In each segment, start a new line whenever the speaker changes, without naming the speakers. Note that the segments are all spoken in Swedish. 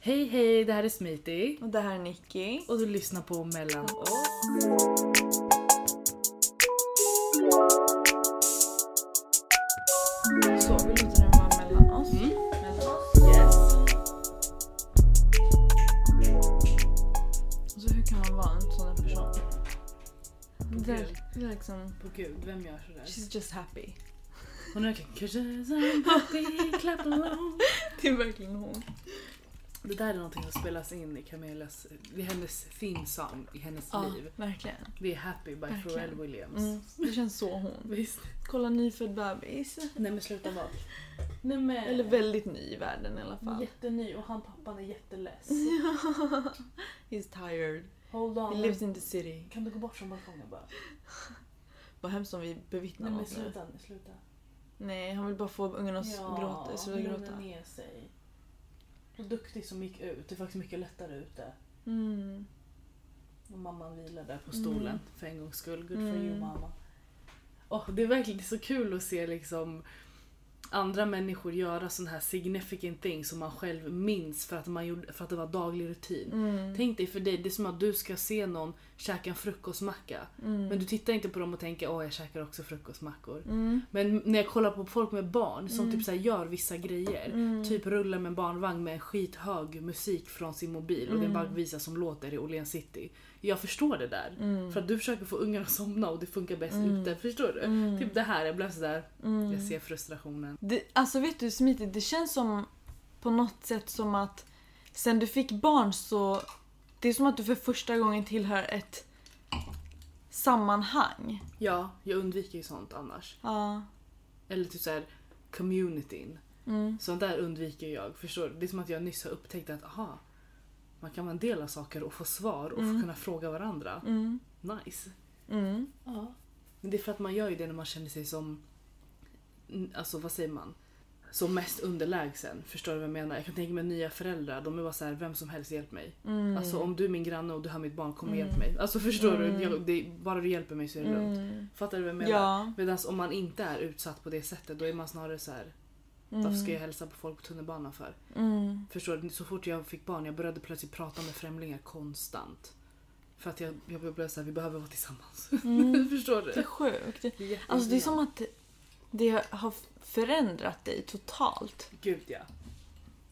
Hej hej, det här är Smiti
Och det här är Nicky.
och du lyssnar på mellan oss.
Så, vill du inte den vara mellan oss?
Mm.
Mellan oss. Alltså hur kan man vara en sån här person? Det är, det är liksom...
På gud, vem gör sådär?
She's just happy.
Hon är verkligen "Cause I'm happy, clap along."
Det är verkligen hon.
Det där är någonting som spelas in i Camillas, det är hennes theme song i hennes liv.
verkligen.
Det är Happy by
Verkligen.
Pharrell Williams.
Mm. Det känns så hon.
Visst?
Kolla nyfödd bebis.
Nej men sluta vad? Nej men.
Eller väldigt ny i världen i alla fall.
Jätteny och han pappan är jätteless.
He's tired.
Hold
He lives in the city.
Kan du gå bort från balkongen bara?
Vad hemskt om vi bevittnar något nu.
nu, sluta.
Nej, han vill bara få ungarna att gråta. Sluta
lugna
gråta.
ner sig. Och duktig som gick ut. Det är faktiskt mycket lättare ute.
Mm.
Och mamman vilar där på stolen
Mm.
för en gångs skull. Good for you
Mm.
mamma. Åh, det är verkligen det är så kul att se liksom andra människor göra sådana här significant things som man själv minns för att, man gjorde, för att det var daglig rutin.
Mm.
Tänk dig för dig, det är som att du ska se någon käka en frukostmacka.
Mm.
Men du tittar inte på dem och tänker åh jag käkar också frukostmackor.
Mm.
Men när jag kollar på folk med barn som
Mm.
typ så här gör vissa grejer.
Mm.
Typ rullar med en barnvagn med en skithög musik från sin mobil och det är en
Mm.
baggvisa som låter i Åhléns city. Jag förstår det där.
Mm.
För att du försöker få ungarna att somna och det funkar bäst
Mm.
ute. Förstår du?
Mm.
Typ det här, jag blev sådär,
Mm.
jag ser frustrationen.
Det, alltså vet du Smiti, det känns som på något sätt som att sen du fick barn så det är som att du för första gången tillhör ett sammanhang.
Ja, jag undviker ju sånt annars.
Ja.
Eller typ såhär communityn.
Mm.
Sånt där undviker jag. Förstår du? Det är som att jag nyss har upptäckt att aha, man kan vara en del av saker och få svar och få
Mm.
kunna fråga varandra.
Mm.
Nice.
Mm.
Ja. Men det är för att man gör ju det när man känner sig som, n- alltså vad säger man? Som mest underlägsen. Förstår du vad jag menar? Jag kan tänka mig nya föräldrar, de är bara så här, vem som helst hjälp mig.
Mm.
Alltså om du är min granne och du har mitt barn, kom och hjälp
Mm.
mig. Alltså förstår
Mm.
du? Jag, det, bara du hjälper mig så är det lugnt.
mm.
Fattar du vad jag menar?
Ja.
Medan om man inte är utsatt på det sättet då är man snarare så här. varför ska jag hälsa på folk på tunnelbanan för?
Mm.
Förstår du? Så fort jag fick barn jag började plötsligt prata med främlingar konstant. För att jag, jag blev såhär, vi behöver vara tillsammans.
Mm.
förstår du?
Det är sjukt.
Det är
Alltså det är som att det har förändrat dig totalt.
Gud ja.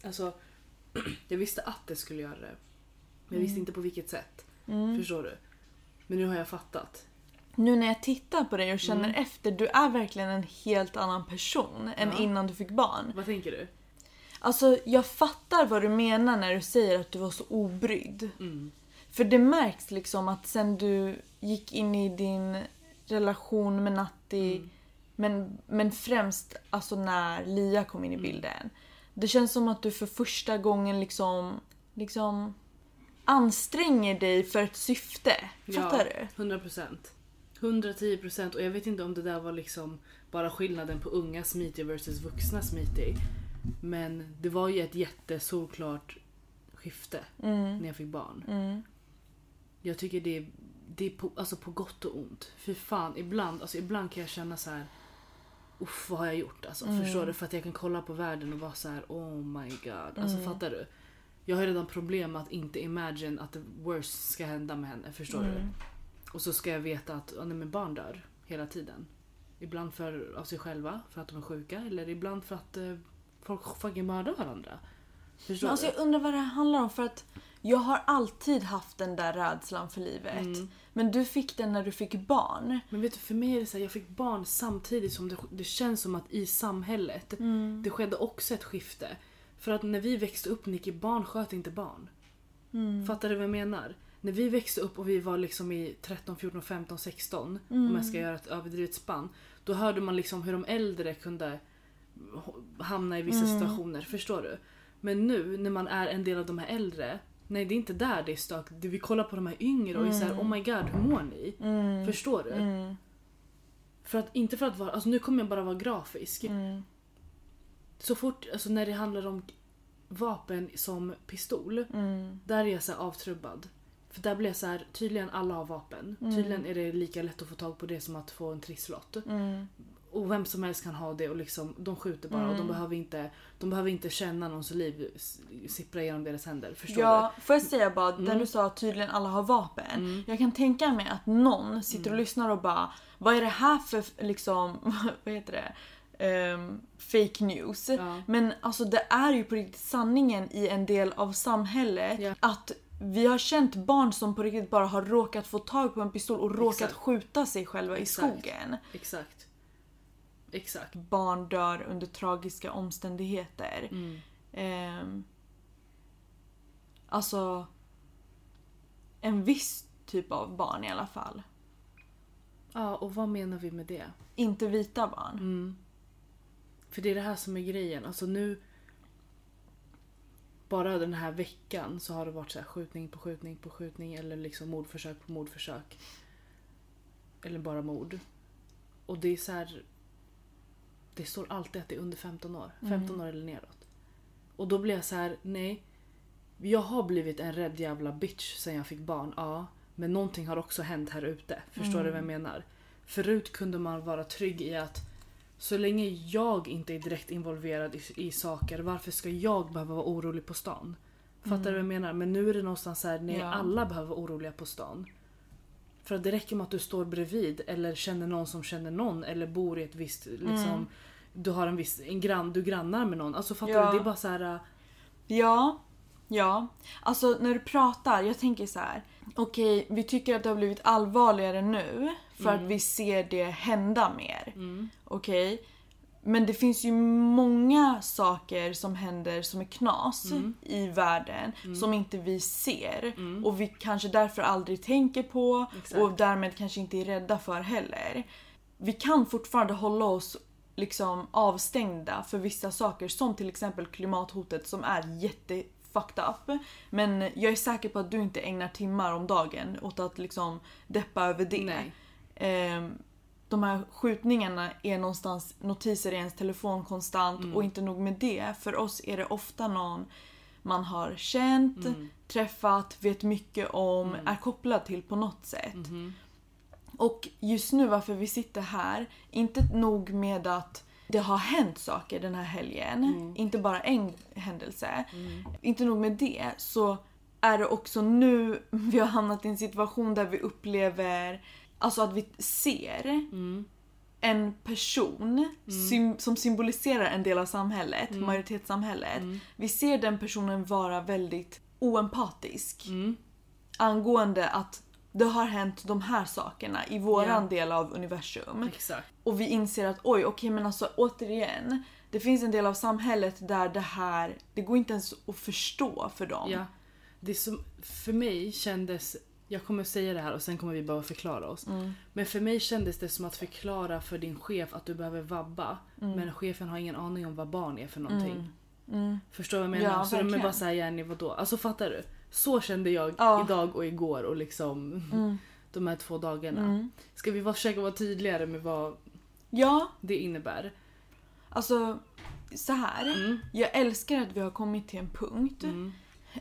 Alltså, jag visste att det skulle göra det. Men jag visste inte på vilket sätt.
Mm.
Förstår du? Men nu har jag fattat.
Nu när jag tittar på dig och känner efter, du är verkligen en helt annan person än
Mm. Ja.
innan du fick barn.
Vad tänker du?
Alltså jag fattar vad du menar när du säger att du var så obrydd.
Mm.
För det märks liksom att sen du gick in i din relation med Natti,
Mm.
men, men främst alltså när Lia kom in i
Mm.
bilden. Det känns som att du för första gången liksom, liksom anstränger dig för ett syfte. Fattar du?
100 procent. 110 procent. Och jag vet inte om det där var liksom bara skillnaden på unga smitty versus vuxna smitty. Men det var ju ett jättesolklart skifte när jag fick barn.
Mm.
Jag tycker det är, det är på, alltså på gott och ont. Fy fan, ibland, alltså ibland kan jag känna så här. Uff, vad har jag gjort? Alltså,
Mm.
Förstår du? För att jag kan kolla på världen och vara så här: oh my god. Alltså
Mm.
fattar du? Jag har redan problem med att inte imagine att the worst ska hända med henne. Förstår du?
Mm.
Och så ska jag veta att ja, nej, men barn dör hela tiden. Ibland för, av sig själva, för att de är sjuka. Eller ibland för att eh, folk fucking mördar varandra. Förstår
Men alltså
du?
jag undrar vad det här handlar om för att jag har alltid haft den där rädslan för livet.
Mm.
Men du fick den när du fick barn.
Men vet du, för mig är det så här, jag fick barn samtidigt som det, det känns som att i samhället, det skedde också ett skifte. För att när vi växte upp, Nicky, barn sköt inte barn.
Mm.
Fattar du vad jag menar? När vi växte upp och vi var liksom i 13, 14, 15, 16, om jag ska göra ett överdrivet spann, då hörde man liksom hur de äldre kunde h- hamna i vissa situationer, förstår du? Men nu när man är en del av de här äldre, nej det är inte där det är stök. Det- Vi kollar på de här yngre och är såhär oh my god hur mår ni? Förstår du?
Mm.
För att, inte för att vara, alltså nu kommer jag bara vara grafisk.
Mm.
Så fort, alltså när det handlar om vapen som pistol,
Mm.
där är jag så här avtrubbad. För där blir jag så här,
Mm.
tydligen alla har vapen. Tydligen är det lika lätt att få tag på det som att få en trisslott.
Mm.
Och vem som helst kan ha det och liksom, de skjuter bara och de behöver, inte, de behöver inte känna någons liv s- sippra genom deras händer. Förstår Mm.
Ja, får jag säga bara, där du sa att tydligen alla har vapen. Jag kan tänka mig att någon sitter och
Mm.
lyssnar och bara Vad är det här för liksom, vad heter det? Ehm, fake news.
Ja.
Men alltså det är ju på riktigt sanningen i en del av samhället
Ja.
att vi har känt barn som på riktigt bara har råkat få tag på en pistol och råkat
Exakt.
skjuta sig själva
Exakt.
i skogen.
du? Exakt. Exakt.
Barn dör under tragiska omständigheter. Ehm, alltså... En viss typ av barn i alla fall.
Ja, och vad menar vi med det?
Inte vita barn.
Mm. För det är det här som är grejen. Alltså nu... Bara den här veckan så har det varit så här skjutning på skjutning på skjutning eller liksom mordförsök på mordförsök. Eller bara mord. Och det är så här... Det står alltid att det är under 15 år. 15 år eller neråt. Och då blir jag så här, nej. Jag har blivit en rädd jävla bitch sen jag fick barn, ja. Men någonting har också hänt här ute. Förstår du vad jag menar? Förut kunde man vara trygg i att så länge jag inte är direkt involverad i, i saker, varför ska jag behöva vara orolig på stan? Fattar du vad jag menar? Men nu är det någonstans så här, nej
Ja.
alla behöver vara oroliga på stan. För att det räcker med att du står bredvid eller känner någon som känner någon eller bor i ett visst liksom Du har en viss, en grann, du grannar med någon. Alltså fattar
Ja.
du? Det är bara så här. äh,
Ja, ja. Alltså när du pratar, jag tänker så här. Okej, vi tycker att det har blivit allvarligare nu för att vi ser det hända mer. Okej. Men det finns ju många saker som händer som är knas
Mm.
i världen som inte vi ser och vi kanske därför aldrig tänker på
Exakt.
och därmed kanske inte är rädda för heller. Vi kan fortfarande hålla oss liksom avstängda för vissa saker som till exempel klimathotet som är jätte fucked up. Men jag är säker på att du inte ägnar timmar om dagen åt att liksom deppa över det.
Nej.
Ehm, de här skjutningarna är någonstans notiser i ens telefon konstant och inte nog med det. För oss är det ofta någon man har känt, träffat, vet mycket om, är kopplad till på något sätt. Och just nu varför vi sitter här, inte nog med att det har hänt saker den här helgen, inte bara en händelse. Inte nog med det så är det också nu vi har hamnat i en situation där vi upplever, alltså att vi ser en person
Mm.
sym- som symboliserar en del av samhället, majoritetssamhället.
Mm.
Vi ser den personen vara väldigt oempatisk
Mm.
angående att det har hänt de här sakerna i våran
Ja.
del av universum.
Exakt.
Och vi inser att oj, okej men alltså återigen. Det finns en del av samhället där det här, det går inte ens att förstå för dem.
Ja. Det som för mig kändes, jag kommer säga det här och sen kommer vi behöva förklara oss.
Mm.
Men för mig kändes det som att förklara för din chef att du behöver vabba
Mm.
men chefen har ingen aning om vad barn är för någonting. Förstår du vad jag menar?
Mm. Ja,
så de är
verkligen.
bara såhär Jenny vadå? Alltså fattar du? Så kände jag
Ja. Mm.
idag och igår och liksom de här två dagarna. Ska vi bara försöka vara tydligare med vad
ja
det innebär?
Alltså så här. Jag älskar att vi har kommit till en punkt.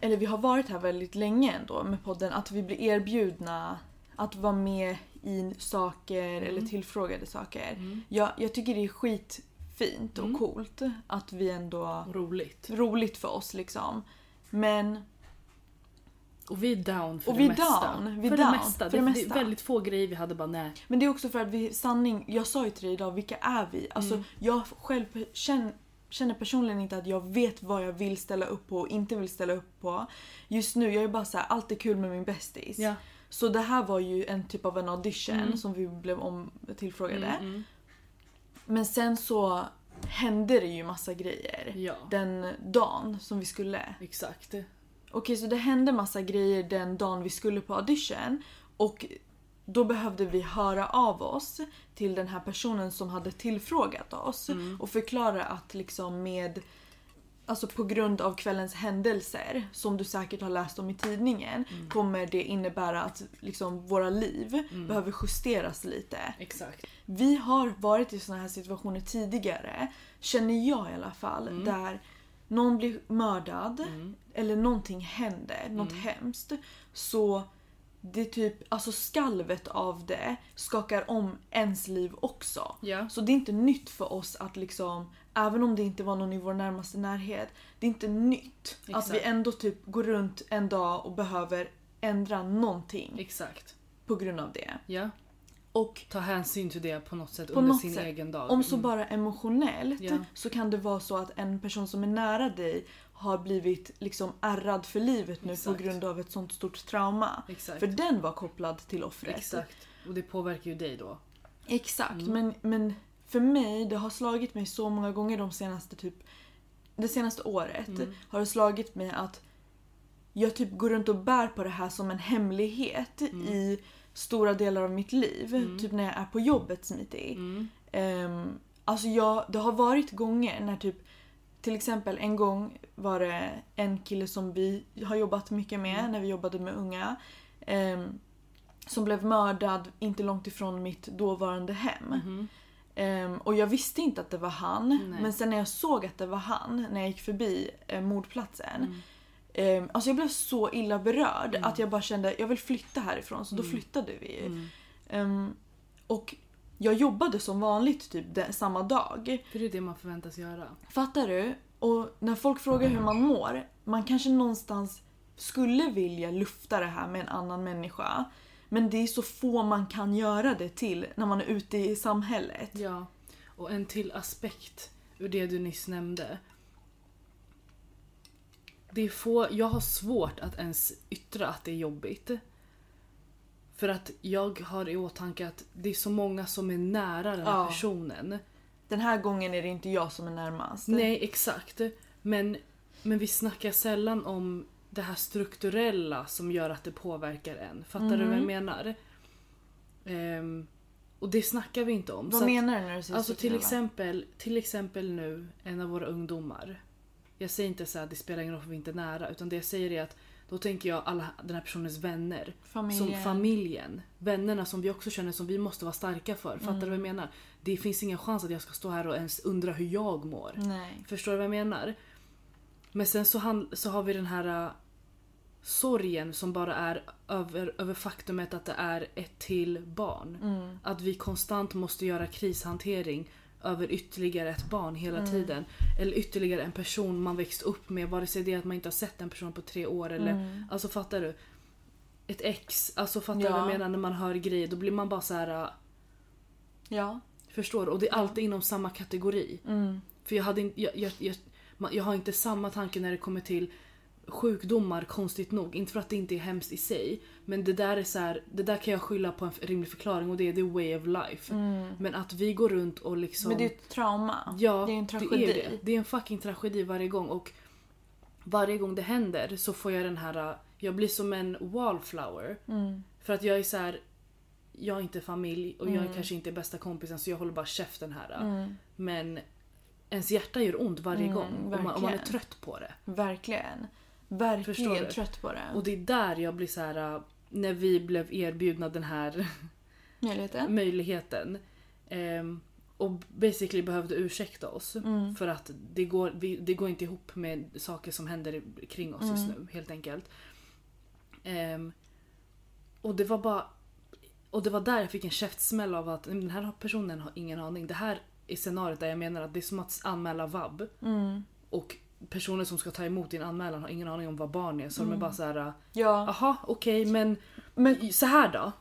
Eller vi har varit här väldigt länge ändå med podden. Att vi blir erbjudna att vara med i saker eller tillfrågade saker. Jag, jag tycker det är skitfint och coolt att vi ändå...
Roligt.
Roligt för oss liksom. Men
Och vi är down för
Och
det
vi är
mesta.
down, vi är
för
down
det mesta.
för det
det,
mesta.
är väldigt få grejer vi hade bara nej.
Men det är också för att vi, sanning, jag sa ju till dig idag, vilka är vi? Alltså
Mm.
jag själv känner, känner personligen inte att jag vet vad jag vill ställa upp på och inte vill ställa upp på. Just nu, jag är bara så här, allt är kul med min bästis.
Ja. Mm.
Så det här var ju en typ av en audition som vi blev om, tillfrågade. Men sen så hände det ju massa grejer
Ja.
den dagen som vi skulle.
Exakt.
Okej, så det hände massa grejer den dagen vi skulle på audition och då behövde vi höra av oss till den här personen som hade tillfrågat oss och förklara att liksom med Alltså på grund av kvällens händelser som du säkert har läst om i tidningen kommer det innebära att liksom våra liv behöver justeras lite.
Exakt.
Vi har varit i såna här situationer tidigare, känner jag i alla fall,
Mm.
där någon
Mm.
blir mördad eller någonting händer, något hemskt. Så det typ, alltså skalvet av det skakar om ens liv också.
Ja.
Så det är inte nytt för oss att liksom, även om det inte var någon i vår närmaste närhet, det är inte nytt att
Exakt.
vi ändå typ går runt en dag och behöver ändra någonting
Exakt.
på grund av det.
Ja.
Och
Ta hänsyn till det på något sätt
på
under
något
sin
sätt,
egen dag.
om så
Mm.
bara emotionellt
Ja.
så kan det vara så att en person som är nära dig har blivit liksom ärrad för livet nu
Exakt.
på grund av ett sånt stort trauma.
Exakt.
För den var kopplad till offret.
Exakt. Mm. Och det påverkar ju dig då.
Exakt, men, men för mig, det har slagit mig så många gånger de senaste typ det senaste året
Mm.
har det slagit mig att jag typ går runt och bär på det här som en hemlighet
Mm.
i stora delar av mitt liv. Typ när jag är på jobbet
Mm.
smittig. Um, alltså jag, det har varit gånger när typ till exempel en gång var det en kille som vi har jobbat mycket med när vi jobbade med unga. ehm, som blev mördad inte långt ifrån mitt dåvarande hem.
Mm.
Ehm, och jag visste inte att det var han.
Nej.
Men sen när jag såg att det var han när jag gick förbi eh, mordplatsen. ehm, alltså jag blev så illa berörd att jag bara kände jag vill flytta härifrån. Så då flyttade vi.
mm.
Ehm, och jag jobbade som vanligt typ de, samma dag.
För det är det man förväntas göra.
Fattar du? Och när folk frågar hur man mår, man kanske någonstans skulle vilja lufta det här med en annan människa. Men det är så få man kan göra det till när man är ute i samhället.
Ja. Och en till aspekt ur det du nyss nämnde. Det är få, jag har svårt att ens yttra att det är jobbigt. För att jag har i åtanke att det är så många som är nära den här
Ja.
personen.
Den här gången är det inte jag som är närmast.
Nej, exakt. Men, men vi snackar sällan om det här strukturella som gör att det påverkar en. Fattar du
Mhm.
vad jag menar? Ehm, och det snackar vi inte om.
Vad
Så att-
menar du när du säger
Alltså till
strukturella?
exempel, till exempel nu en av våra ungdomar. Jag säger inte så här, det spelar ingen roll för vi är inte nära utan det jag säger är att då tänker jag alla den här personens vänner. Som
Familjen.
familjen. Vännerna som vi också känner som vi måste vara starka för. Fattar du vad
Mm.
jag menar? Det finns ingen chans att jag ska stå här och ens undra hur jag mår.
Nej.
Förstår du vad jag menar? Men sen så, han, så har vi den här äh, sorgen som bara är över, över faktumet att det är ett till barn.
Mm.
Att vi konstant måste göra krishantering över ytterligare ett barn hela tiden. Eller ytterligare en person man växt upp med. Vare sig det är att man inte har sett en person på tre år eller...
Mm.
Alltså fattar du? Ett ex. Alltså fattar du vad jag
Ja.
menar? När man hör grejer då blir man bara så här. äh,
Ja. Mm.
Förstår du? Och det är alltid inom samma kategori. För jag, hade in, jag, jag, jag, man- jag har inte samma tanke när det kommer till sjukdomar konstigt nog. Inte för att det inte är hemskt i sig. Men det där är så här, det där kan jag skylla på en f- rimlig förklaring och det är the way of life. Men att vi går runt och liksom...
Mm. Men det är ju ett trauma.
ja,
det är en tragedi.
Det är, det. det är en fucking tragedi varje gång och varje gång det händer så får jag den här... Jag blir som en wallflower.
Mm.
För att jag är så här. Jag är inte familj och
Mm.
jag är kanske inte bästa kompisen så jag håller bara käften här. Men ens hjärta gör ont varje gång om man, om man är
verkligen.
trött på det.
Verkligen.
Förstår
Verkligen
du?
trött på det.
Och det är där jag blir så här. äh, När vi blev erbjudna den här
Möjligheten?
möjligheten. ehm, och basically behövde ursäkta oss
Mm.
för att det går, vi, det går inte ihop med saker som händer i- kring oss just nu helt enkelt. Ehm, och det var bara och det var där jag fick en käftsmäll av att "Nej, men den här personen har ingen aning. Det här är scenariot där jag menar att det är som att anmäla vab.
Mm.
Och personen som ska ta emot din anmälan har ingen aning om vad barn är. Så de är bara så här.
Ja.
Jaha okej men,
Men-
men så här då?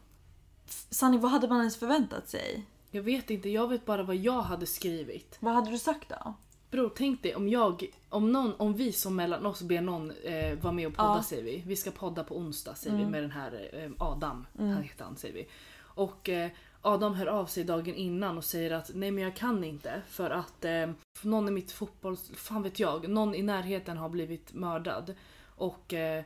Sanni, vad hade man ens förväntat sig?
Jag vet inte, jag vet bara vad jag hade skrivit.
Vad hade du sagt då?
Bror tänk dig om jag, om någon, om vi som mellan oss ber någon eh, vara med och podda
Ja.
säger vi. Vi ska podda på onsdag säger vi med den här eh, Adam, han heter han säger vi. Och eh, Adam hör av sig dagen innan och säger att nej men jag kan inte för att eh, någon i mitt fotboll, fan vet jag, någon i närheten har blivit mördad. Och eh,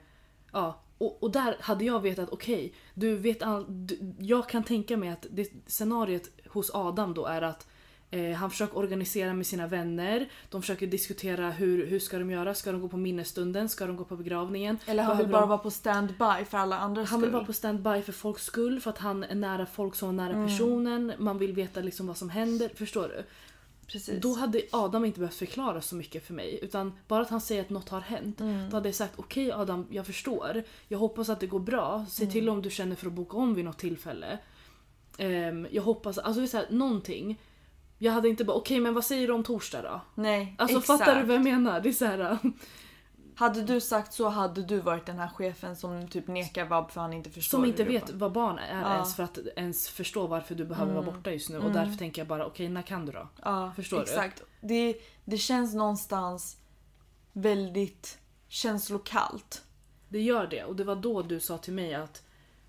Ja, och, och där hade jag vetat okej, du vet all, du, jag kan tänka mig att det, scenariet hos Adam då är att eh, han försöker organisera med sina vänner, de försöker diskutera hur, hur ska de göra, ska de gå på minnesstunden, ska de gå på begravningen?
Eller han vill
Behöver de-
bara vara på standby för alla andra
han
skull.
vill vara på standby för folks skull för att han är nära folk som är nära personen. Man vill veta liksom vad som händer. Förstår du?
precis.
Då hade Adam inte behövt förklara så mycket för mig. Utan bara att han säger att något har hänt. Då hade jag sagt okej Adam, jag förstår. Jag hoppas att det går bra. Se till om du känner för att boka om vid något tillfälle. Ehm, jag hoppas, alltså det är så här, någonting. Jag hade inte bara okej men vad säger du om torsdag då?
Nej,
Alltså
exakt.
fattar du vad jag menar? Det är så här, äh,
Hade du sagt så hade du varit den här chefen som typ nekar vab för han inte förstår.
som
hur
inte
du
vet
jobbar.
vad barn är
Ja. Mm.
ens för att ens förstå varför du behöver vara borta just nu. Och därför tänker jag bara okej när kan du då?
Ja,
Förstår du?
exakt. du? Det, det känns någonstans väldigt känslokallt.
Det gör det och det var då du sa till mig att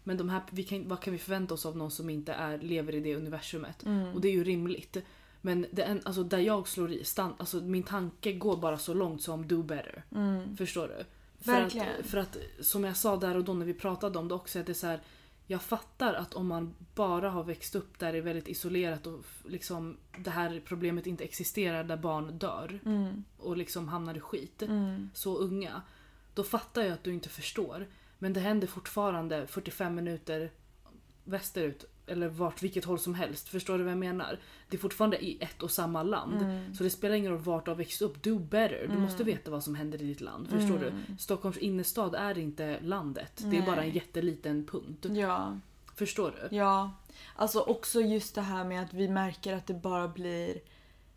men de här, vi kan, vad kan vi förvänta oss av någon som inte är, lever i det universumet?
Mm.
Och det är ju rimligt. Men det är en, alltså där jag slår i, stan, alltså min tanke går bara så långt som do better.
Mm.
Förstår du? För
Verkligen.
Att, för att som jag sa där och då när vi pratade om det också, att det är så här, jag fattar att om man bara har växt upp där det är väldigt isolerat och f- liksom det här problemet inte existerar där barn dör
Mm.
och liksom hamnar i skit så unga. Då fattar jag att du inte förstår. Men det händer fortfarande 45 minuter västerut eller vart, vilket håll som helst. Förstår du vad jag menar? Det är fortfarande i ett och samma land. Så det spelar ingen roll vart du har växt upp. Do better. Du måste veta vad som händer i ditt land. Förstår du? Stockholms innerstad är inte landet. Det är bara en jätteliten punkt.
Ja,
Förstår du?
ja. Alltså också just det här med att vi märker att det bara blir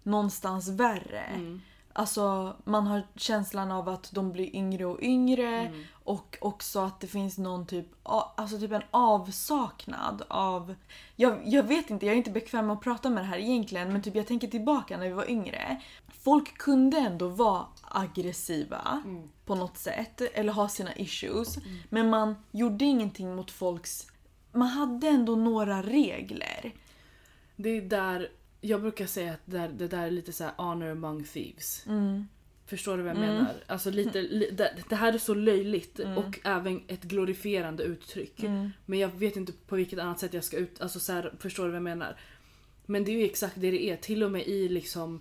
någonstans värre. Alltså man har känslan av att de blir yngre och yngre och också att det finns någon typ, a- alltså typ en avsaknad av... Jag, jag vet inte, jag är inte bekväm med att prata med det här egentligen men typ jag tänker tillbaka när vi var yngre. Folk kunde ändå vara aggressiva på något sätt eller ha sina issues
Mm.
men man gjorde ingenting mot folks... Man hade ändå några regler.
Det är där, jag brukar säga att där, det där är lite så här honor among thieves. Förstår du vad jag menar? Alltså lite, li, det, det här är så löjligt och även ett glorifierande uttryck.
Mm.
Men jag vet inte på vilket annat sätt jag ska ut... Alltså så här, förstår du vad jag menar? Men det är ju exakt det det är. Till och med i liksom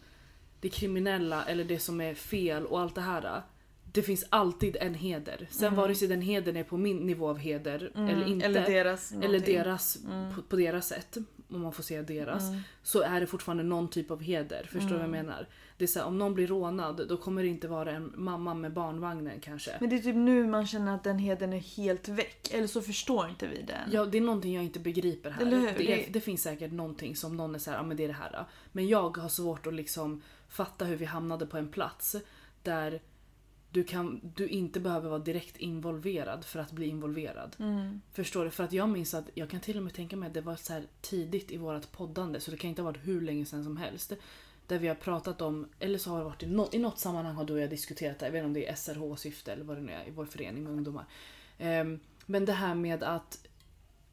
det kriminella eller det som är fel och allt det här. Det finns alltid en heder. Sen vare sig den hedern är på min nivå av heder eller inte.
Mm. Eller deras
Eller
någonting. Mm.
deras, på, på deras sätt, om man får säga deras, så är det fortfarande någon typ av heder. Förstår du vad jag
Mm.
menar? Det är så här, om någon blir rånad då kommer det inte vara en mamma med barnvagnen kanske.
Men det är typ nu man känner att den heden är helt väck. Eller så förstår inte vi den.
Ja, det är någonting jag inte begriper här.
Eller hur?
Det,
Det-
är, det finns säkert någonting som någon är såhär, ja men det är det här. då." Men jag har svårt att liksom fatta hur vi hamnade på en plats där du, kan, du inte behöver vara direkt involverad för att bli involverad.
Mm.
Förstår du? För att jag minns att, jag kan till och med tänka mig att det var så här tidigt i vårt poddande så det kan inte ha varit hur länge sedan som helst. Där vi har pratat om, eller så har det varit i något, i något sammanhang har du och jag diskuterat det, jag vet inte om det är SRH-syfte eller vad det nu är i vår förening med ungdomar. Ehm, men det här med att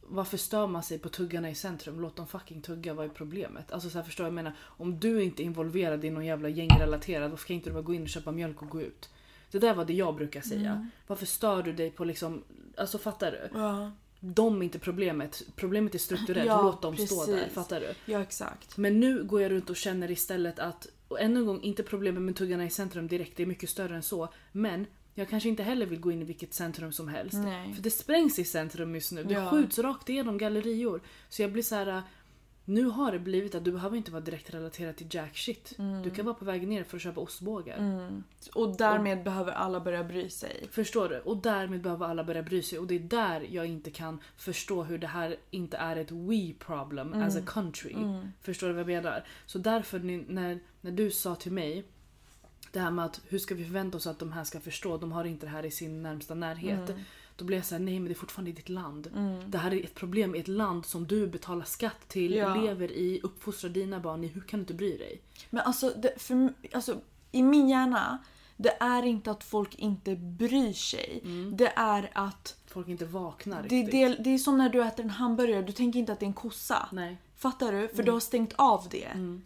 varför stör man sig på tuggarna i centrum? Låt dem fucking tugga, vad är problemet? Alltså så här, förstår jag, jag menar, om du inte är involverad i någon jävla gängrelaterad, varför kan inte du bara gå in och köpa mjölk och gå ut? Det där var det jag brukar säga. Varför stör du dig på liksom, alltså fattar du?
Ja,
De är inte problemet, problemet är strukturellt,
Ja,
låt dem stå där,
precis.
fattar du?
ja exakt.
Men nu går jag runt och känner istället att, och ännu en gång, inte problemet med tuggarna i centrum direkt, det är mycket större än så. Men jag kanske inte heller vill gå in i vilket centrum som helst.
Nej.
För det sprängs i centrum just nu. Det
Mm. Ja.
skjuts rakt igenom gallerior. Så jag blir så här. äh, Nu har det blivit att du behöver inte vara direkt relaterad till jack shit. Du kan vara på väg ner för att köpa ostbågar.
Mm. Och därmed behöver alla börja bry sig.
Förstår du? Och därmed behöver alla börja bry sig och det är där jag inte kan förstå hur det här inte är ett we problem as a
Mm.
country. Förstår du vad jag menar? Så därför ni- när, när du sa till mig det här med att hur ska vi förvänta oss att de här ska förstå, de har inte det här i sin närmsta närhet.
Mm.
Då blir jag såhär, nej men det är fortfarande i ditt land. Det här är ett problem i ett land som du betalar skatt till,
Ja.
lever i, uppfostrar dina barn i. Hur kan du inte bry dig?
Men alltså, det, för, alltså i min hjärna, det är inte att folk inte bryr sig.
Mm.
Det är att
Folk inte vaknar
det, det, det är som när du äter en hamburgare, du tänker inte att det är en kossa.
Nej. Mm.
Fattar du? För du har stängt av det.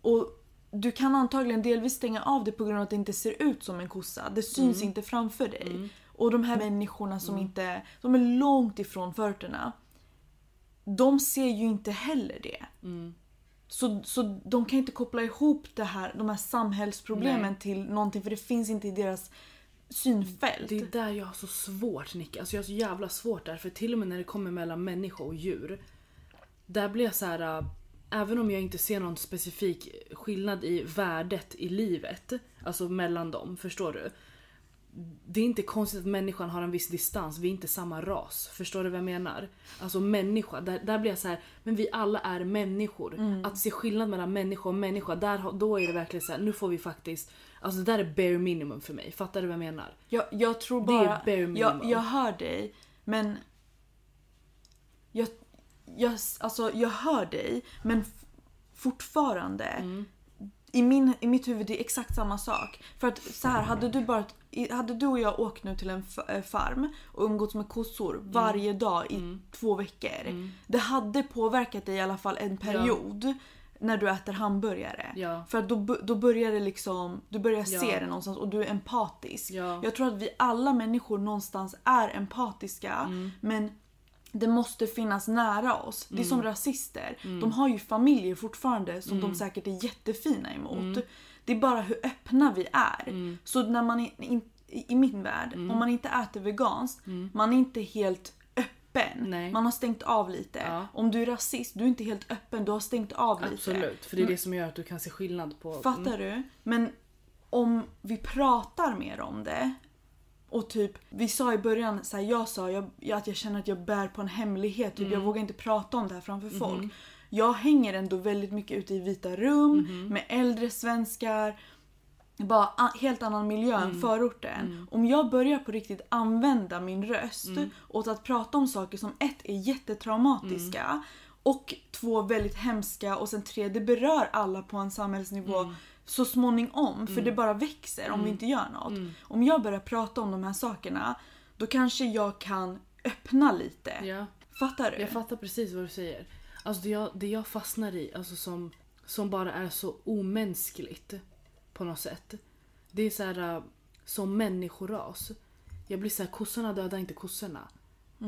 Och du kan antagligen delvis stänga av det på grund av att det inte ser ut som en kossa. Det syns
Mm.
inte framför dig. Och de här människorna som inte, de är långt ifrån förorterna. De ser ju inte heller det.
Mm.
Så, så de kan inte koppla ihop det här, de här samhällsproblemen
Nej.
till någonting för det finns inte i deras synfält.
Det är där jag har så svårt Nick. Alltså jag har så jävla svårt där. För till och med när det kommer mellan människa och djur. Där blir jag så här. äh, även om jag inte ser någon specifik skillnad i värdet i livet, alltså mellan dem, förstår du? Det är inte konstigt att människan har en viss distans, vi är inte samma ras. Förstår du vad jag menar? Alltså människa, där, där blir jag så här, men vi alla är människor. Att se skillnad mellan människa och människa, där, har- då är det verkligen så här, nu får vi faktiskt, alltså det där är bare minimum för mig. Fattar du vad jag menar?
Jag, jag tror
Det är
bara...
bare
jag,
minimum.
jag hör dig, men... Jag, jag, alltså, jag hör dig, men f- fortfarande...
Mm.
I, min, I mitt huvud det är exakt samma sak. För att så här, hade du, bara, i- hade du och jag åkt nu till en f- eh, farm och umgåtts med kossor
Mm.
varje dag i två veckor. Det hade påverkat dig i alla fall en period när du äter hamburgare.
Ja.
För att då, bu- då börjar det liksom, du börjar
Ja.
se det någonstans och du är empatisk.
Ja.
Jag tror att vi alla människor någonstans är empatiska
Mm.
men det måste finnas nära oss. Det är
Mm.
som rasister. De har ju familjer fortfarande som de säkert är jättefina emot.
Mm.
Det är bara hur öppna vi är. Så när man i- in, i i min värld,
Mm.
om man inte äter veganskt, man är inte helt öppen.
Nej.
Man har stängt av lite.
Ja.
Om du är rasist, du är inte helt öppen, du har stängt av lite.
Absolut, för det är det som gör att du kan se skillnad på...
Fattar du? Men om vi pratar mer om det och typ, vi sa i början, så här, jag sa jag, jag, att jag känner att jag bär på en hemlighet, typ, jag vågar inte prata om det här framför folk. Jag hänger ändå väldigt mycket ute i vita rum med äldre svenskar. Bara a- helt annan miljö
Mm.
än förorten. Om jag börjar på riktigt använda min röst
Mm.
åt att prata om saker som ett är jättetraumatiska
Mm.
och två väldigt hemska och sen tre det berör alla på en samhällsnivå
Mm.
så småningom för det bara växer om vi inte gör något.
Mm.
Om jag börjar prata om de här sakerna då kanske jag kan öppna lite.
Ja.
Fattar du?
Jag fattar precis vad du säger. Alltså det jag, det jag fastnar i, alltså som, som bara är så omänskligt på något sätt. Det är så här äh, som människoras. Jag blir så här, kossorna dödar inte kossorna.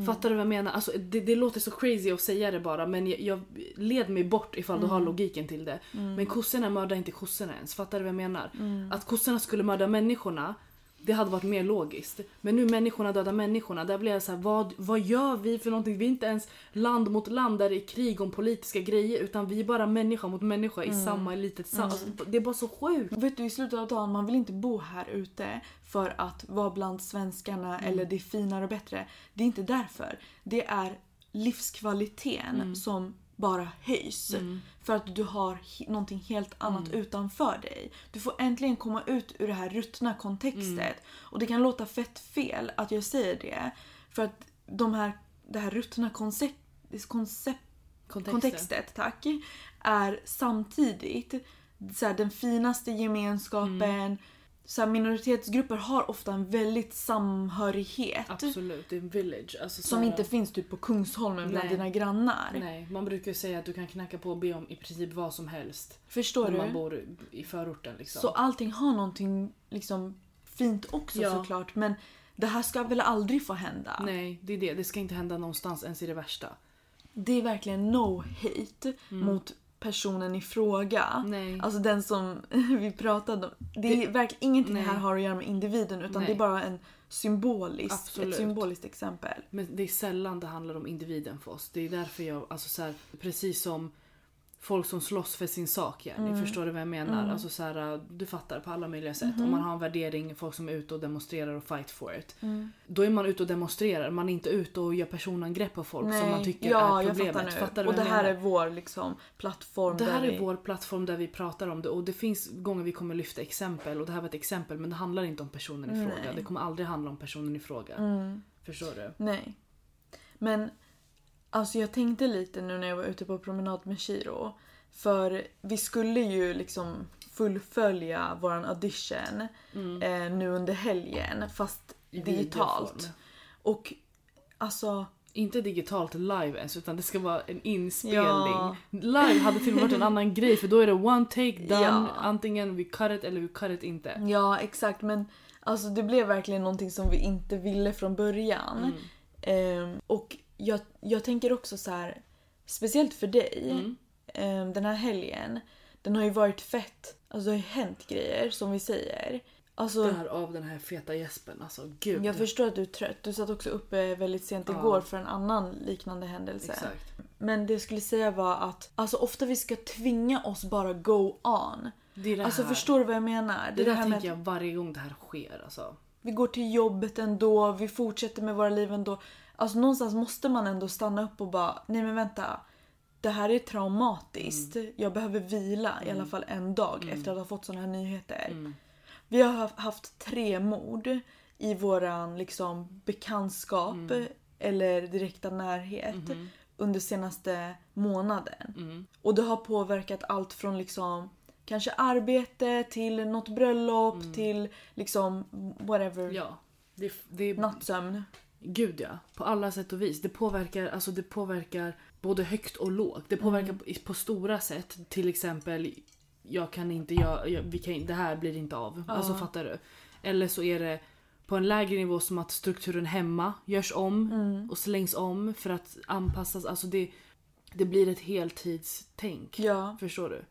Fattar du vad jag menar? Alltså, det, det låter så crazy att säga det bara men jag, jag led mig bort ifall du har logiken till det. Men kossorna mördar inte kossorna ens. Fattar du vad jag menar? Att kossorna skulle mörda människorna det hade varit mer logiskt. Men nu människorna dödar människorna. Där blir jag så här, vad, vad gör vi för någonting? Vi är inte ens land mot land där det är krig om politiska grejer utan vi är bara människa mot människa
Mm.
i samma litet sam- alltså, Det är bara så sjukt.
Vet du i slutet av dagen, man vill inte bo här ute för att vara bland svenskarna eller det är finare och bättre. Det är inte därför. Det är livskvaliteten som bara höjs. För att du har he- någonting helt annat utanför dig. Du får äntligen komma ut ur det här ruttna kontextet. Och det kan låta fett fel att jag säger det. För att de här, det här ruttna koncept, koncept kontextet, tack, är samtidigt så här, den finaste gemenskapen.
Mm.
Så här, minoritetsgrupper har ofta en väldigt samhörighet
Absolut, det är en village. Alltså, så
som
här-
inte finns typ på Kungsholmen bland
Nej.
dina grannar.
Nej, man brukar ju säga att du kan knacka på och be om i princip vad som helst.
Förstår
När man
du?
bor i förorten liksom.
Så allting har någonting liksom fint också
Ja.
såklart men det här ska väl aldrig få hända.
Nej, det är det. Det ska inte hända någonstans ens i det värsta.
Det är verkligen no hate
Mm.
mot personen i fråga.
Nej.
Alltså den som vi pratade om. Det är verkligen ingenting
nej.
här har att göra med individen utan
Nej.
det är bara en symbolisk, ett
Absolut.
symboliskt exempel.
Men det är sällan det handlar om individen för oss. Det är därför jag, alltså så här, precis som folk som slåss för sin sak Jenny,
Mm.
förstår du vad jag menar? Alltså så här, du fattar på alla möjliga sätt.
Mm-hmm.
Om man har en värdering, folk som är ute och demonstrerar och fight for it.
Mm.
Då är man ute och demonstrerar, man är inte ute och gör personangrepp på folk som man tycker
ja,
är problemet.
jag fattar nu.
du
och
vad
det
jag
här
menar?
är vår liksom, plattform.
Det här
där
är
vi-
vår plattform där vi pratar om det och det finns gånger vi kommer lyfta exempel och det här var ett exempel men det handlar inte om personen i fråga.
Nej. Mm.
Det kommer aldrig handla om personen i fråga. Förstår du?
Nej. Men alltså jag tänkte lite nu när jag var ute på promenad med Shiro. För vi skulle ju liksom fullfölja våran audition
Mm.
eh, nu under helgen fast
I
digitalt.
videoform.
Och alltså
Inte digitalt live ens utan det ska vara en inspelning.
Ja.
Live hade till och med varit en annan grej för då är det one take done.
Ja.
Antingen vi cut it eller vi cut it inte.
Ja, exakt. Men alltså, det blev verkligen någonting som vi inte ville från början.
Mm.
Ehm, och jag, jag tänker också så här, speciellt för dig,
Mm.
ehm, den här helgen, den har ju varit fett. Alltså det har ju hänt grejer som vi säger. Alltså,
Därav den här feta gäspen alltså. Gud.
jag förstår att du är trött. Du satt också uppe väldigt sent
Ja.
igår för en annan liknande händelse.
Exakt.
Men det jag skulle säga var att alltså, ofta vi ska tvinga oss bara go on.
Det är det
Alltså
här.
förstår du vad jag menar?
det,
är
där
här med
tänker jag varje gång det här sker alltså.
Vi går till jobbet ändå, vi fortsätter med våra liv ändå. Alltså någonstans måste man ändå stanna upp och bara, nej men vänta. Det här är traumatiskt.
Mm.
Jag behöver vila i alla fall en dag efter att ha fått sådana här nyheter.
Mm.
Vi har haf- haft tre mord i våran liksom bekantskap
Mm.
eller direkta närhet
Mm-hmm.
under senaste månaden.
Mm.
Och det har påverkat allt från liksom kanske arbete till något bröllop till liksom whatever.
Mm. Ja. Det, det,
Nattsömn.
Gud ja, på alla sätt och vis. Det påverkar, alltså det påverkar både högt och lågt. Det påverkar
Mm.
på, på stora sätt. Till exempel, jag kan inte, jag, jag, vi kan, in- det här blir inte av. Alltså fattar du? Eller så är det på en lägre nivå som att strukturen hemma görs om
Mm.
och slängs om för att anpassas. Alltså det, det blir ett heltidstänk.
Ja,
Förstår du?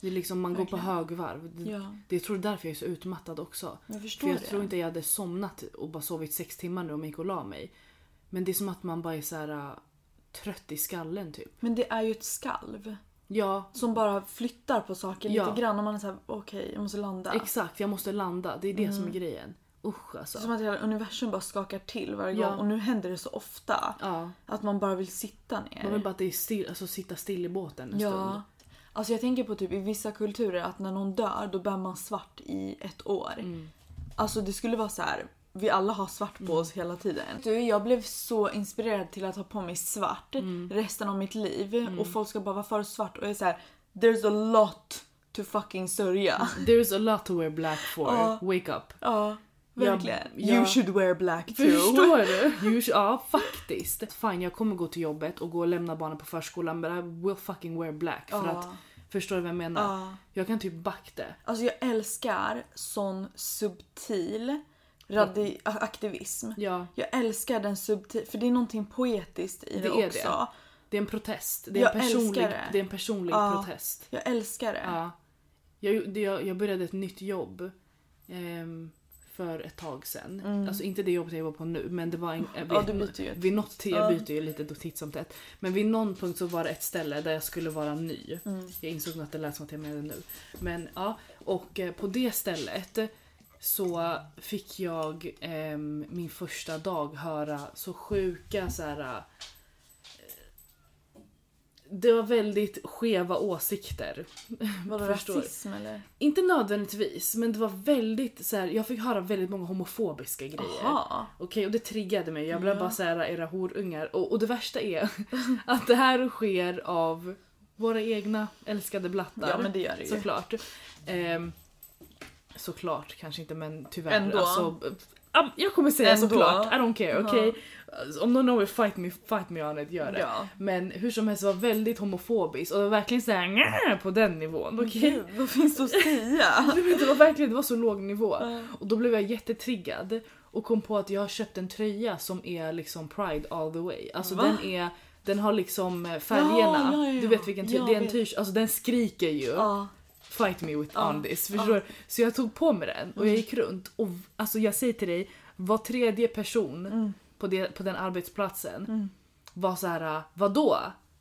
Det är liksom, man går på högvarv. Det,
Ja.
det, jag tror det är därför jag är så utmattad också.
jag förstår
För jag
det.
tror inte jag hade somnat och bara sovit sex timmar nu om jag gick och la mig. Men det är som att man bara är så här äh, trött i skallen typ.
Men det är ju ett skalv
Ja,
som bara flyttar på saker
Ja.
lite grann och man är såhär okej jag måste landa.
exakt. Jag måste landa. Det är det som är grejen. Usch alltså.
Som att hela universum bara skakar till varje
Ja.
gång och nu händer det så ofta
Ja.
att man bara vill sitta ner.
Man vill bara att det är still, alltså, sitta still i båten en stund.
ja. Alltså jag tänker på typ i vissa kulturer att när någon dör då bär man svart i ett år.
Mm.
Alltså det skulle vara så här. Vi alla har svart på oss hela tiden. Du, jag blev så inspirerad till att ha på mig svart
Mm.
resten av mitt liv. Och folk ska bara varför har du svart? Och jag är så här. There's a lot to fucking
Mm.
sörja.
There's a lot to wear black for. Wake up.
Ja,
Ja,
verkligen.
ja.
You should wear black too.
Förstår du? You should- Ja, faktiskt. Fan, jag kommer gå till jobbet och gå och lämna barnen på förskolan but I will fucking wear black. För
Ja.
att, förstår du vad jag menar?
Ja.
Jag kan typ back det.
Alltså jag älskar sån subtil radi- aktivism.
Ja.
Jag älskar den subtil, för det är någonting poetiskt i det,
Det är
också.
det. Det är en protest. Det är,
Jag
en personlig,
älskar
det.
det.
är en personlig
Ja.
protest.
Jag älskar det.
Ja. Jag, det- jag, jag började ett nytt jobb ehm, för ett tag sedan. Alltså inte det jobbet jag jobbar på nu men det var en, eh, vid,
Mm. Ja, du byter ju ett.
vid något till, jag byter ju lite då titt som tätt. Men vid någon punkt så var det ett ställe där jag skulle vara ny. Jag insåg nog att det lät som att jag menade nu. Men ja, och eh, på det stället så fick jag ehm, min första dag höra så sjuka så här. eh, Det var väldigt skeva åsikter.
Vadå
Förstår.
rasism eller?
Inte nödvändigtvis, men det var väldigt så här, jag fick höra väldigt många homofobiska grejer.
Jaha.
Okej, och det triggade mig. Jag blev bara så här, era horungar. Och, och det värsta är att det här sker av våra egna älskade blattar.
Ja, men det gör det ju.
Såklart. Ehm, såklart kanske inte, men tyvärr.
Ändå.
Alltså, eh, jag kommer säga
Ändå.
såklart. I don't care, okej? Alltså, Om någon vill fight me, fight me on it, gör det.
Ja.
Men hur som helst det var väldigt homofobiskt och det var verkligen såhär "Nja", på den nivån. Okej?
Gud, vad finns det att säga?
Nej, men det var verkligen det var så låg nivå. Och då blev jag jättetriggad och kom på att jag har köpt en tröja som är liksom Pride all the way. Alltså
Va?
den är den har liksom eh, färgerna.
Ja, ja, ja.
Du vet vilken tröja,
Jag
det är en
vet.
t-shirt, alltså den skriker ju
ja.
fight me with on this. Förstår du? Så jag tog på mig den
Mm.
och jag gick runt och v- alltså jag säger till dig, var tredje person
Mm.
på, det, på den arbetsplatsen var så här, eh, vadå?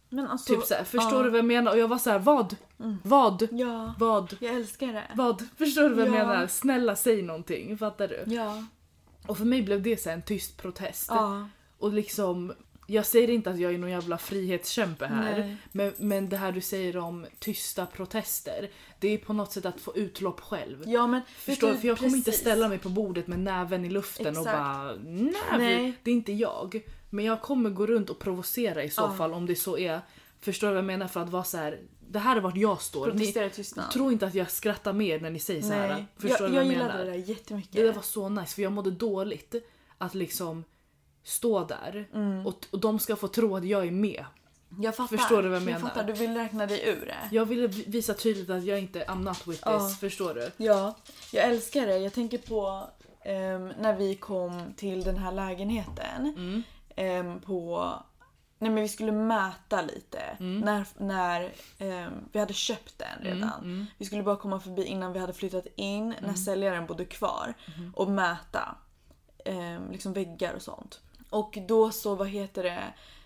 Men alltså,
Typ så här, förstår
ja. Mm.
du vad jag menar? Och jag var så här, vad? Vad?
Ja,
Vad?
jag älskar det.
Vad? Förstår du vad jag
Ja.
menar? Snälla säg någonting, fattar du?
Ja.
Och för mig blev det så här en tyst protest.
ja.
Och liksom, jag säger inte att jag är någon jävla frihetskämpe här.
Nej.
Men, men det här du säger om tysta protester, det är på något sätt att få utlopp själv.
Ja men
Förstår du?
vet
För jag kommer inte
precis.
ställa mig på bordet med näven i luften och
Exakt.
bara nej,
Nej.
det är inte jag. Men jag kommer gå runt och provocera i så
Ja.
fall om det så är. Förstår du vad jag menar? För att vara så här. det här är vart jag står. Ni,
Protestera i tystnad.
Tro inte att jag skrattar mer när ni säger så här.
Nej.
Förstår
jag
du vad
jag
jag
gillade
menar?
det där jättemycket.
Det där var så nice för jag mådde dåligt att liksom stå där
Mm.
och, och de ska få tro att jag är med.
Jag fattar.
Förstår du vad jag menar?
fattar, du vill räkna dig ur det.
Jag ville vi- visa tydligt att jag inte I'm not with this,
Ja.
förstår du?
Ja, jag älskar det. Jag tänker på ehm, när vi kom till den här lägenheten. Ehm, på... Nej men vi skulle mäta lite när, när ehm, vi hade köpt den redan. Vi skulle bara komma förbi innan vi hade flyttat in när säljaren bodde kvar och mäta ehm, liksom väggar och sånt. Och då så, vad heter det,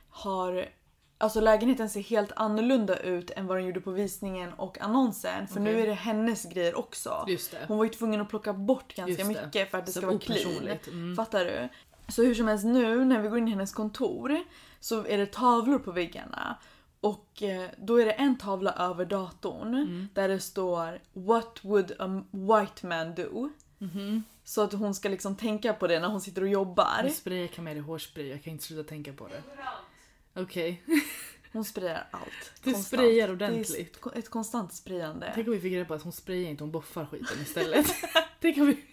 har Alltså lägenheten ser helt annorlunda ut än vad den gjorde på visningen och annonsen. För nu
Okej.
är det hennes grejer också.
Just det.
Hon var ju tvungen att plocka bort ganska
Just det.
mycket för att det
Så
ska vara clean.
opersonligt. Mm.
Fattar du? Så hur som helst nu när vi går in i hennes kontor så är det tavlor på väggarna. Och eh, då är det en tavla över datorn
Mm.
där det står “What would a white man do?”
Mhm.
Så att hon ska liksom tänka på det när hon sitter och jobbar.
Nu sprayar Camilla hårspray, jag kan inte sluta tänka på det. Okej.
Hon sprayar allt.
Du
konstant.
sprayar
Det är
ordentligt.
st- ett konstant sprayande.
Tänk om vi fick reda på att hon sprayar inte, hon boffar skiten istället. Tänk om vi...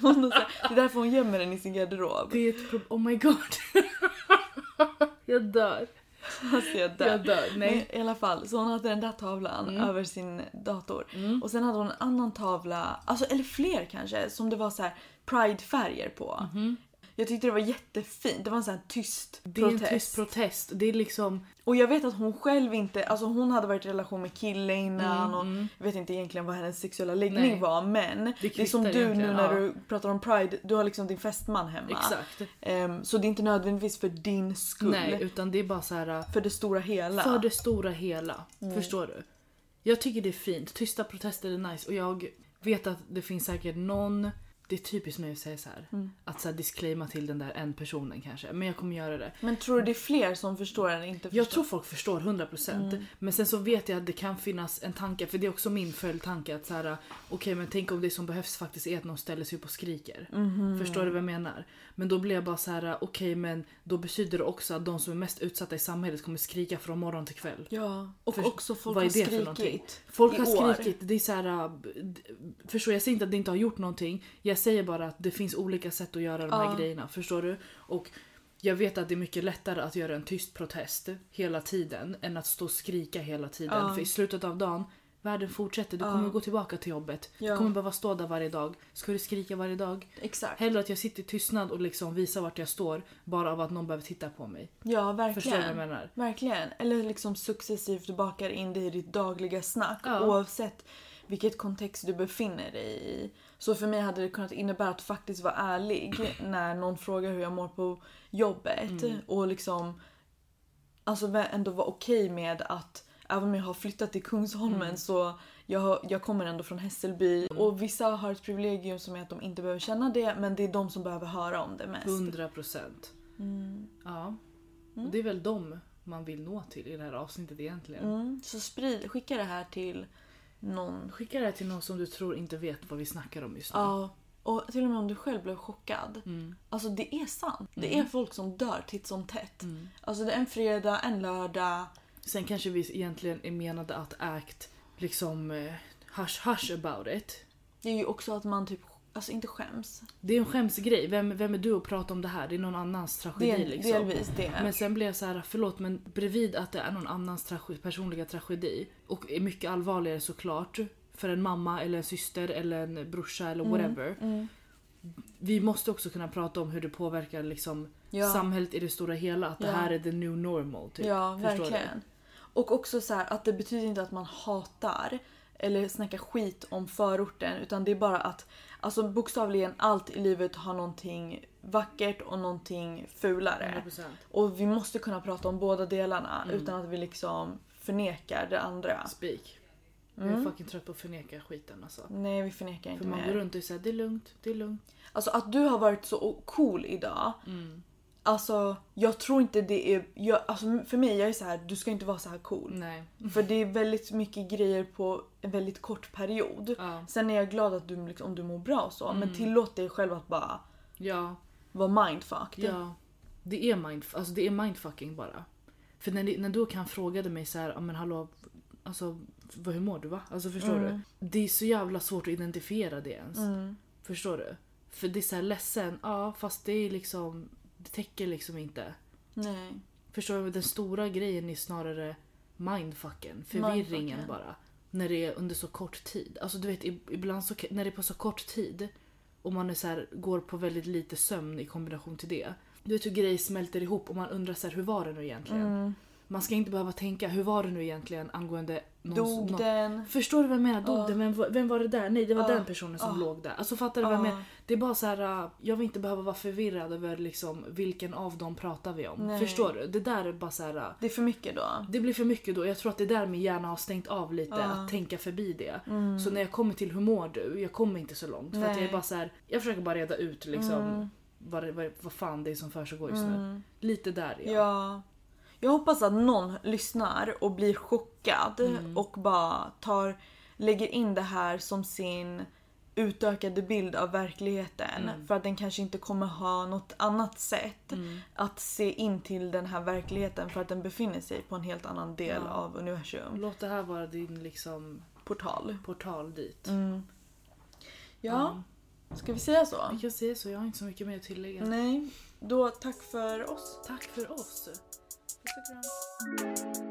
Hon har så här- det är därför hon gömmer den i sin garderob.
Det är ett problem. Oh my god. jag dör.
Alltså jag dör.
Jag dör. Nej. Mm.
Men I alla fall, så hon hade den där tavlan över sin dator. Och sen hade hon en annan tavla, alltså, eller fler kanske, som det var så här pridefärger på. Jag tyckte det var jättefint. Det var en sån här tyst
Mhm. Det är
protest.
en tyst protest. Det är liksom...
och jag vet att hon själv inte, alltså hon hade varit i relation med kille innan och jag vet inte egentligen vad hennes sexuella läggning
Mm, Nej.
var men det, är
kvittar
som du nu
egentligen,
när
ja.
du pratar om pride, du har liksom din fästman hemma.
Exakt.
Ehm, så det är inte nödvändigtvis för din skull.
Nej, utan det är bara så här...
För det stora hela.
För det stora hela. Förstår du? Jag tycker det är fint. Tysta protester är nice och jag vet att det finns säkert någon det är typiskt mig att säga så här, att så här disclaima till den där en personen kanske. Men jag kommer göra det.
Men tror du det är fler som förstår än inte förstår?
Jag tror folk förstår 100% men sen så vet jag att det kan finnas en tanke för det är också min följdtanke att så här, okej men tänk om det som behövs faktiskt är att någon ställer sig upp och skriker. Förstår du vad jag menar? Men då blir jag bara så här, okej men då betyder det också att de som är mest utsatta i samhället kommer skrika från morgon till kväll.
Ja, och
Först-
också folk
vad är
har
det för någonting?
skrikit.
Folk
i
har
år.
skrikit, det är så här, äh, b- d- förstår jag säger inte att det inte har gjort någonting. Jag säger bara att det finns olika sätt att göra de här
Ja.
grejerna, förstår du? Och jag vet att det är mycket lättare att göra en tyst protest hela tiden än att stå och skrika hela tiden.
Ja.
För i slutet av dagen, världen fortsätter, du kommer gå tillbaka till jobbet.
Ja.
Du kommer behöva stå där varje dag. Ska du skrika varje dag?
Exakt.
Hellre att jag sitter i tystnad och liksom visar vart jag står bara av att någon behöver titta på mig.
Ja,
Förstår du vad jag
verkligen.
menar?
Verkligen. Eller liksom successivt bakar in det i ditt dagliga snack
Ja.
oavsett vilket kontext du befinner dig i. Så för mig hade det kunnat innebära att faktiskt vara ärlig när någon frågar hur jag mår på jobbet och liksom alltså vä- ändå vara okej med att även om jag har flyttat till Kungsholmen så jag, har- jag kommer ändå från Hässelby och vissa har ett privilegium som är att de inte behöver känna det men det är de som behöver höra om det Mm. mest.
100 procent. Ja. Och det är väl dem man vill nå till i det här avsnittet egentligen.
Mm, så sprid, skicka det här till någon.
Skicka det här till någon som du tror inte vet vad vi snackar om just nu.
Ja, och till och med om du själv blev chockad.
Mm.
Alltså det är sant. Det är folk som dör titt som tätt.
Mm.
Alltså det är en fredag, en lördag.
Sen kanske vi egentligen är menade att act liksom eh, hush hush about it.
Det är ju också att man typ, alltså inte skäms.
Det är en skämsgrej. Vem, vem är du att prata om det här? Det är någon annans
Det
tragedi
är
liksom.
delvis det.
Men sen blir jag så här, förlåt men bredvid att det är någon annans trage- personliga tragedi och är mycket allvarligare såklart för en mamma eller en syster eller en brorsa
Mm,
eller whatever. Vi måste också kunna prata om hur det påverkar liksom
Ja.
samhället i det stora hela. Att
Ja.
det här är the new normal. Typ.
ja,
Förstår du?
verkligen. Och också så här att det betyder inte att man hatar eller snackar skit om förorten utan det är bara att alltså bokstavligen allt i livet har någonting vackert och någonting fulare.
100%.
Och vi måste kunna prata om båda delarna
Mm.
utan att vi liksom förnekar det andra.
Speak. Jag är fucking trött på att förneka skiten alltså.
Mm. Nej, vi förnekar inte
För man går
mer.
runt och säger det är lugnt, det är lugnt.
Alltså att du har varit så cool idag.
Mm.
Alltså jag tror inte det är... Jag, alltså, för mig, jag är så här, du ska inte vara så här cool.
Nej.
För det är väldigt mycket grejer på en väldigt kort period.
Ja. Mm.
Sen är jag glad att du, liksom, om du mår bra och så, men tillåt dig själv att bara
Ja.
vara mindfucked.
Ja, det är, mindf- alltså det är mindfucking bara. För när, det- när du kan frågade mig så här, "Ja, men hallå, alltså, vad, hur mår du va? Alltså förstår du? Det är så jävla svårt att identifiera det ens.
Mm.
Förstår du? För det är så här ledsen, ja fast det är liksom, det täcker liksom inte.
Nej.
Förstår du? Den stora grejen är snarare mindfucken, förvirringen
Mindfucken.
bara. När det är under så kort tid. Alltså du vet ib- ibland så, när det är på så kort tid och man är så här, går på väldigt lite
Mm.
sömn i kombination till det. Du vet hur grejer smälter ihop och man undrar så här, hur var det nu egentligen? Man ska inte behöva tänka, hur var det nu egentligen angående någons,
Dog
någon-
den?
Förstår du vad jag menar? Dog
Ja.
den? Vem, var- vem var det där? Nej, det var
Ja.
den personen som
Ja.
låg där. Alltså fattar du vad jag
Ja.
menar? Det är bara så här, äh, jag vill inte behöva vara förvirrad över liksom vilken av dem pratar vi om.
Nej.
Förstår du? Det där är bara så här. äh,
Det är för mycket då.
det blir för mycket då. Jag tror att det är där min hjärna har stängt av lite,
Ja. Mm.
att tänka förbi det. Så när jag kommer till hur mår du? Jag kommer inte så långt. För att jag
Nej. Mm.
är bara så här, jag försöker bara reda ut liksom vad, det, vad, det- vad fan det är som försiggår just nu. Lite där
Ja.
ja.
Jag hoppas att någon lyssnar och blir chockad och bara tar, lägger in det här som sin utökade bild av verkligheten. För att den kanske inte kommer ha något annat sätt att se in till den här verkligheten för att den befinner sig på en helt annan del
Ja.
av universum.
Låt det här vara din liksom
Portal.
portal dit.
Mm. Ja, ska vi säga så?
Jag säger så, jag har inte så mycket mer att tillägga.
Nej, då tack för oss.
Tack för oss.
Puss och kram.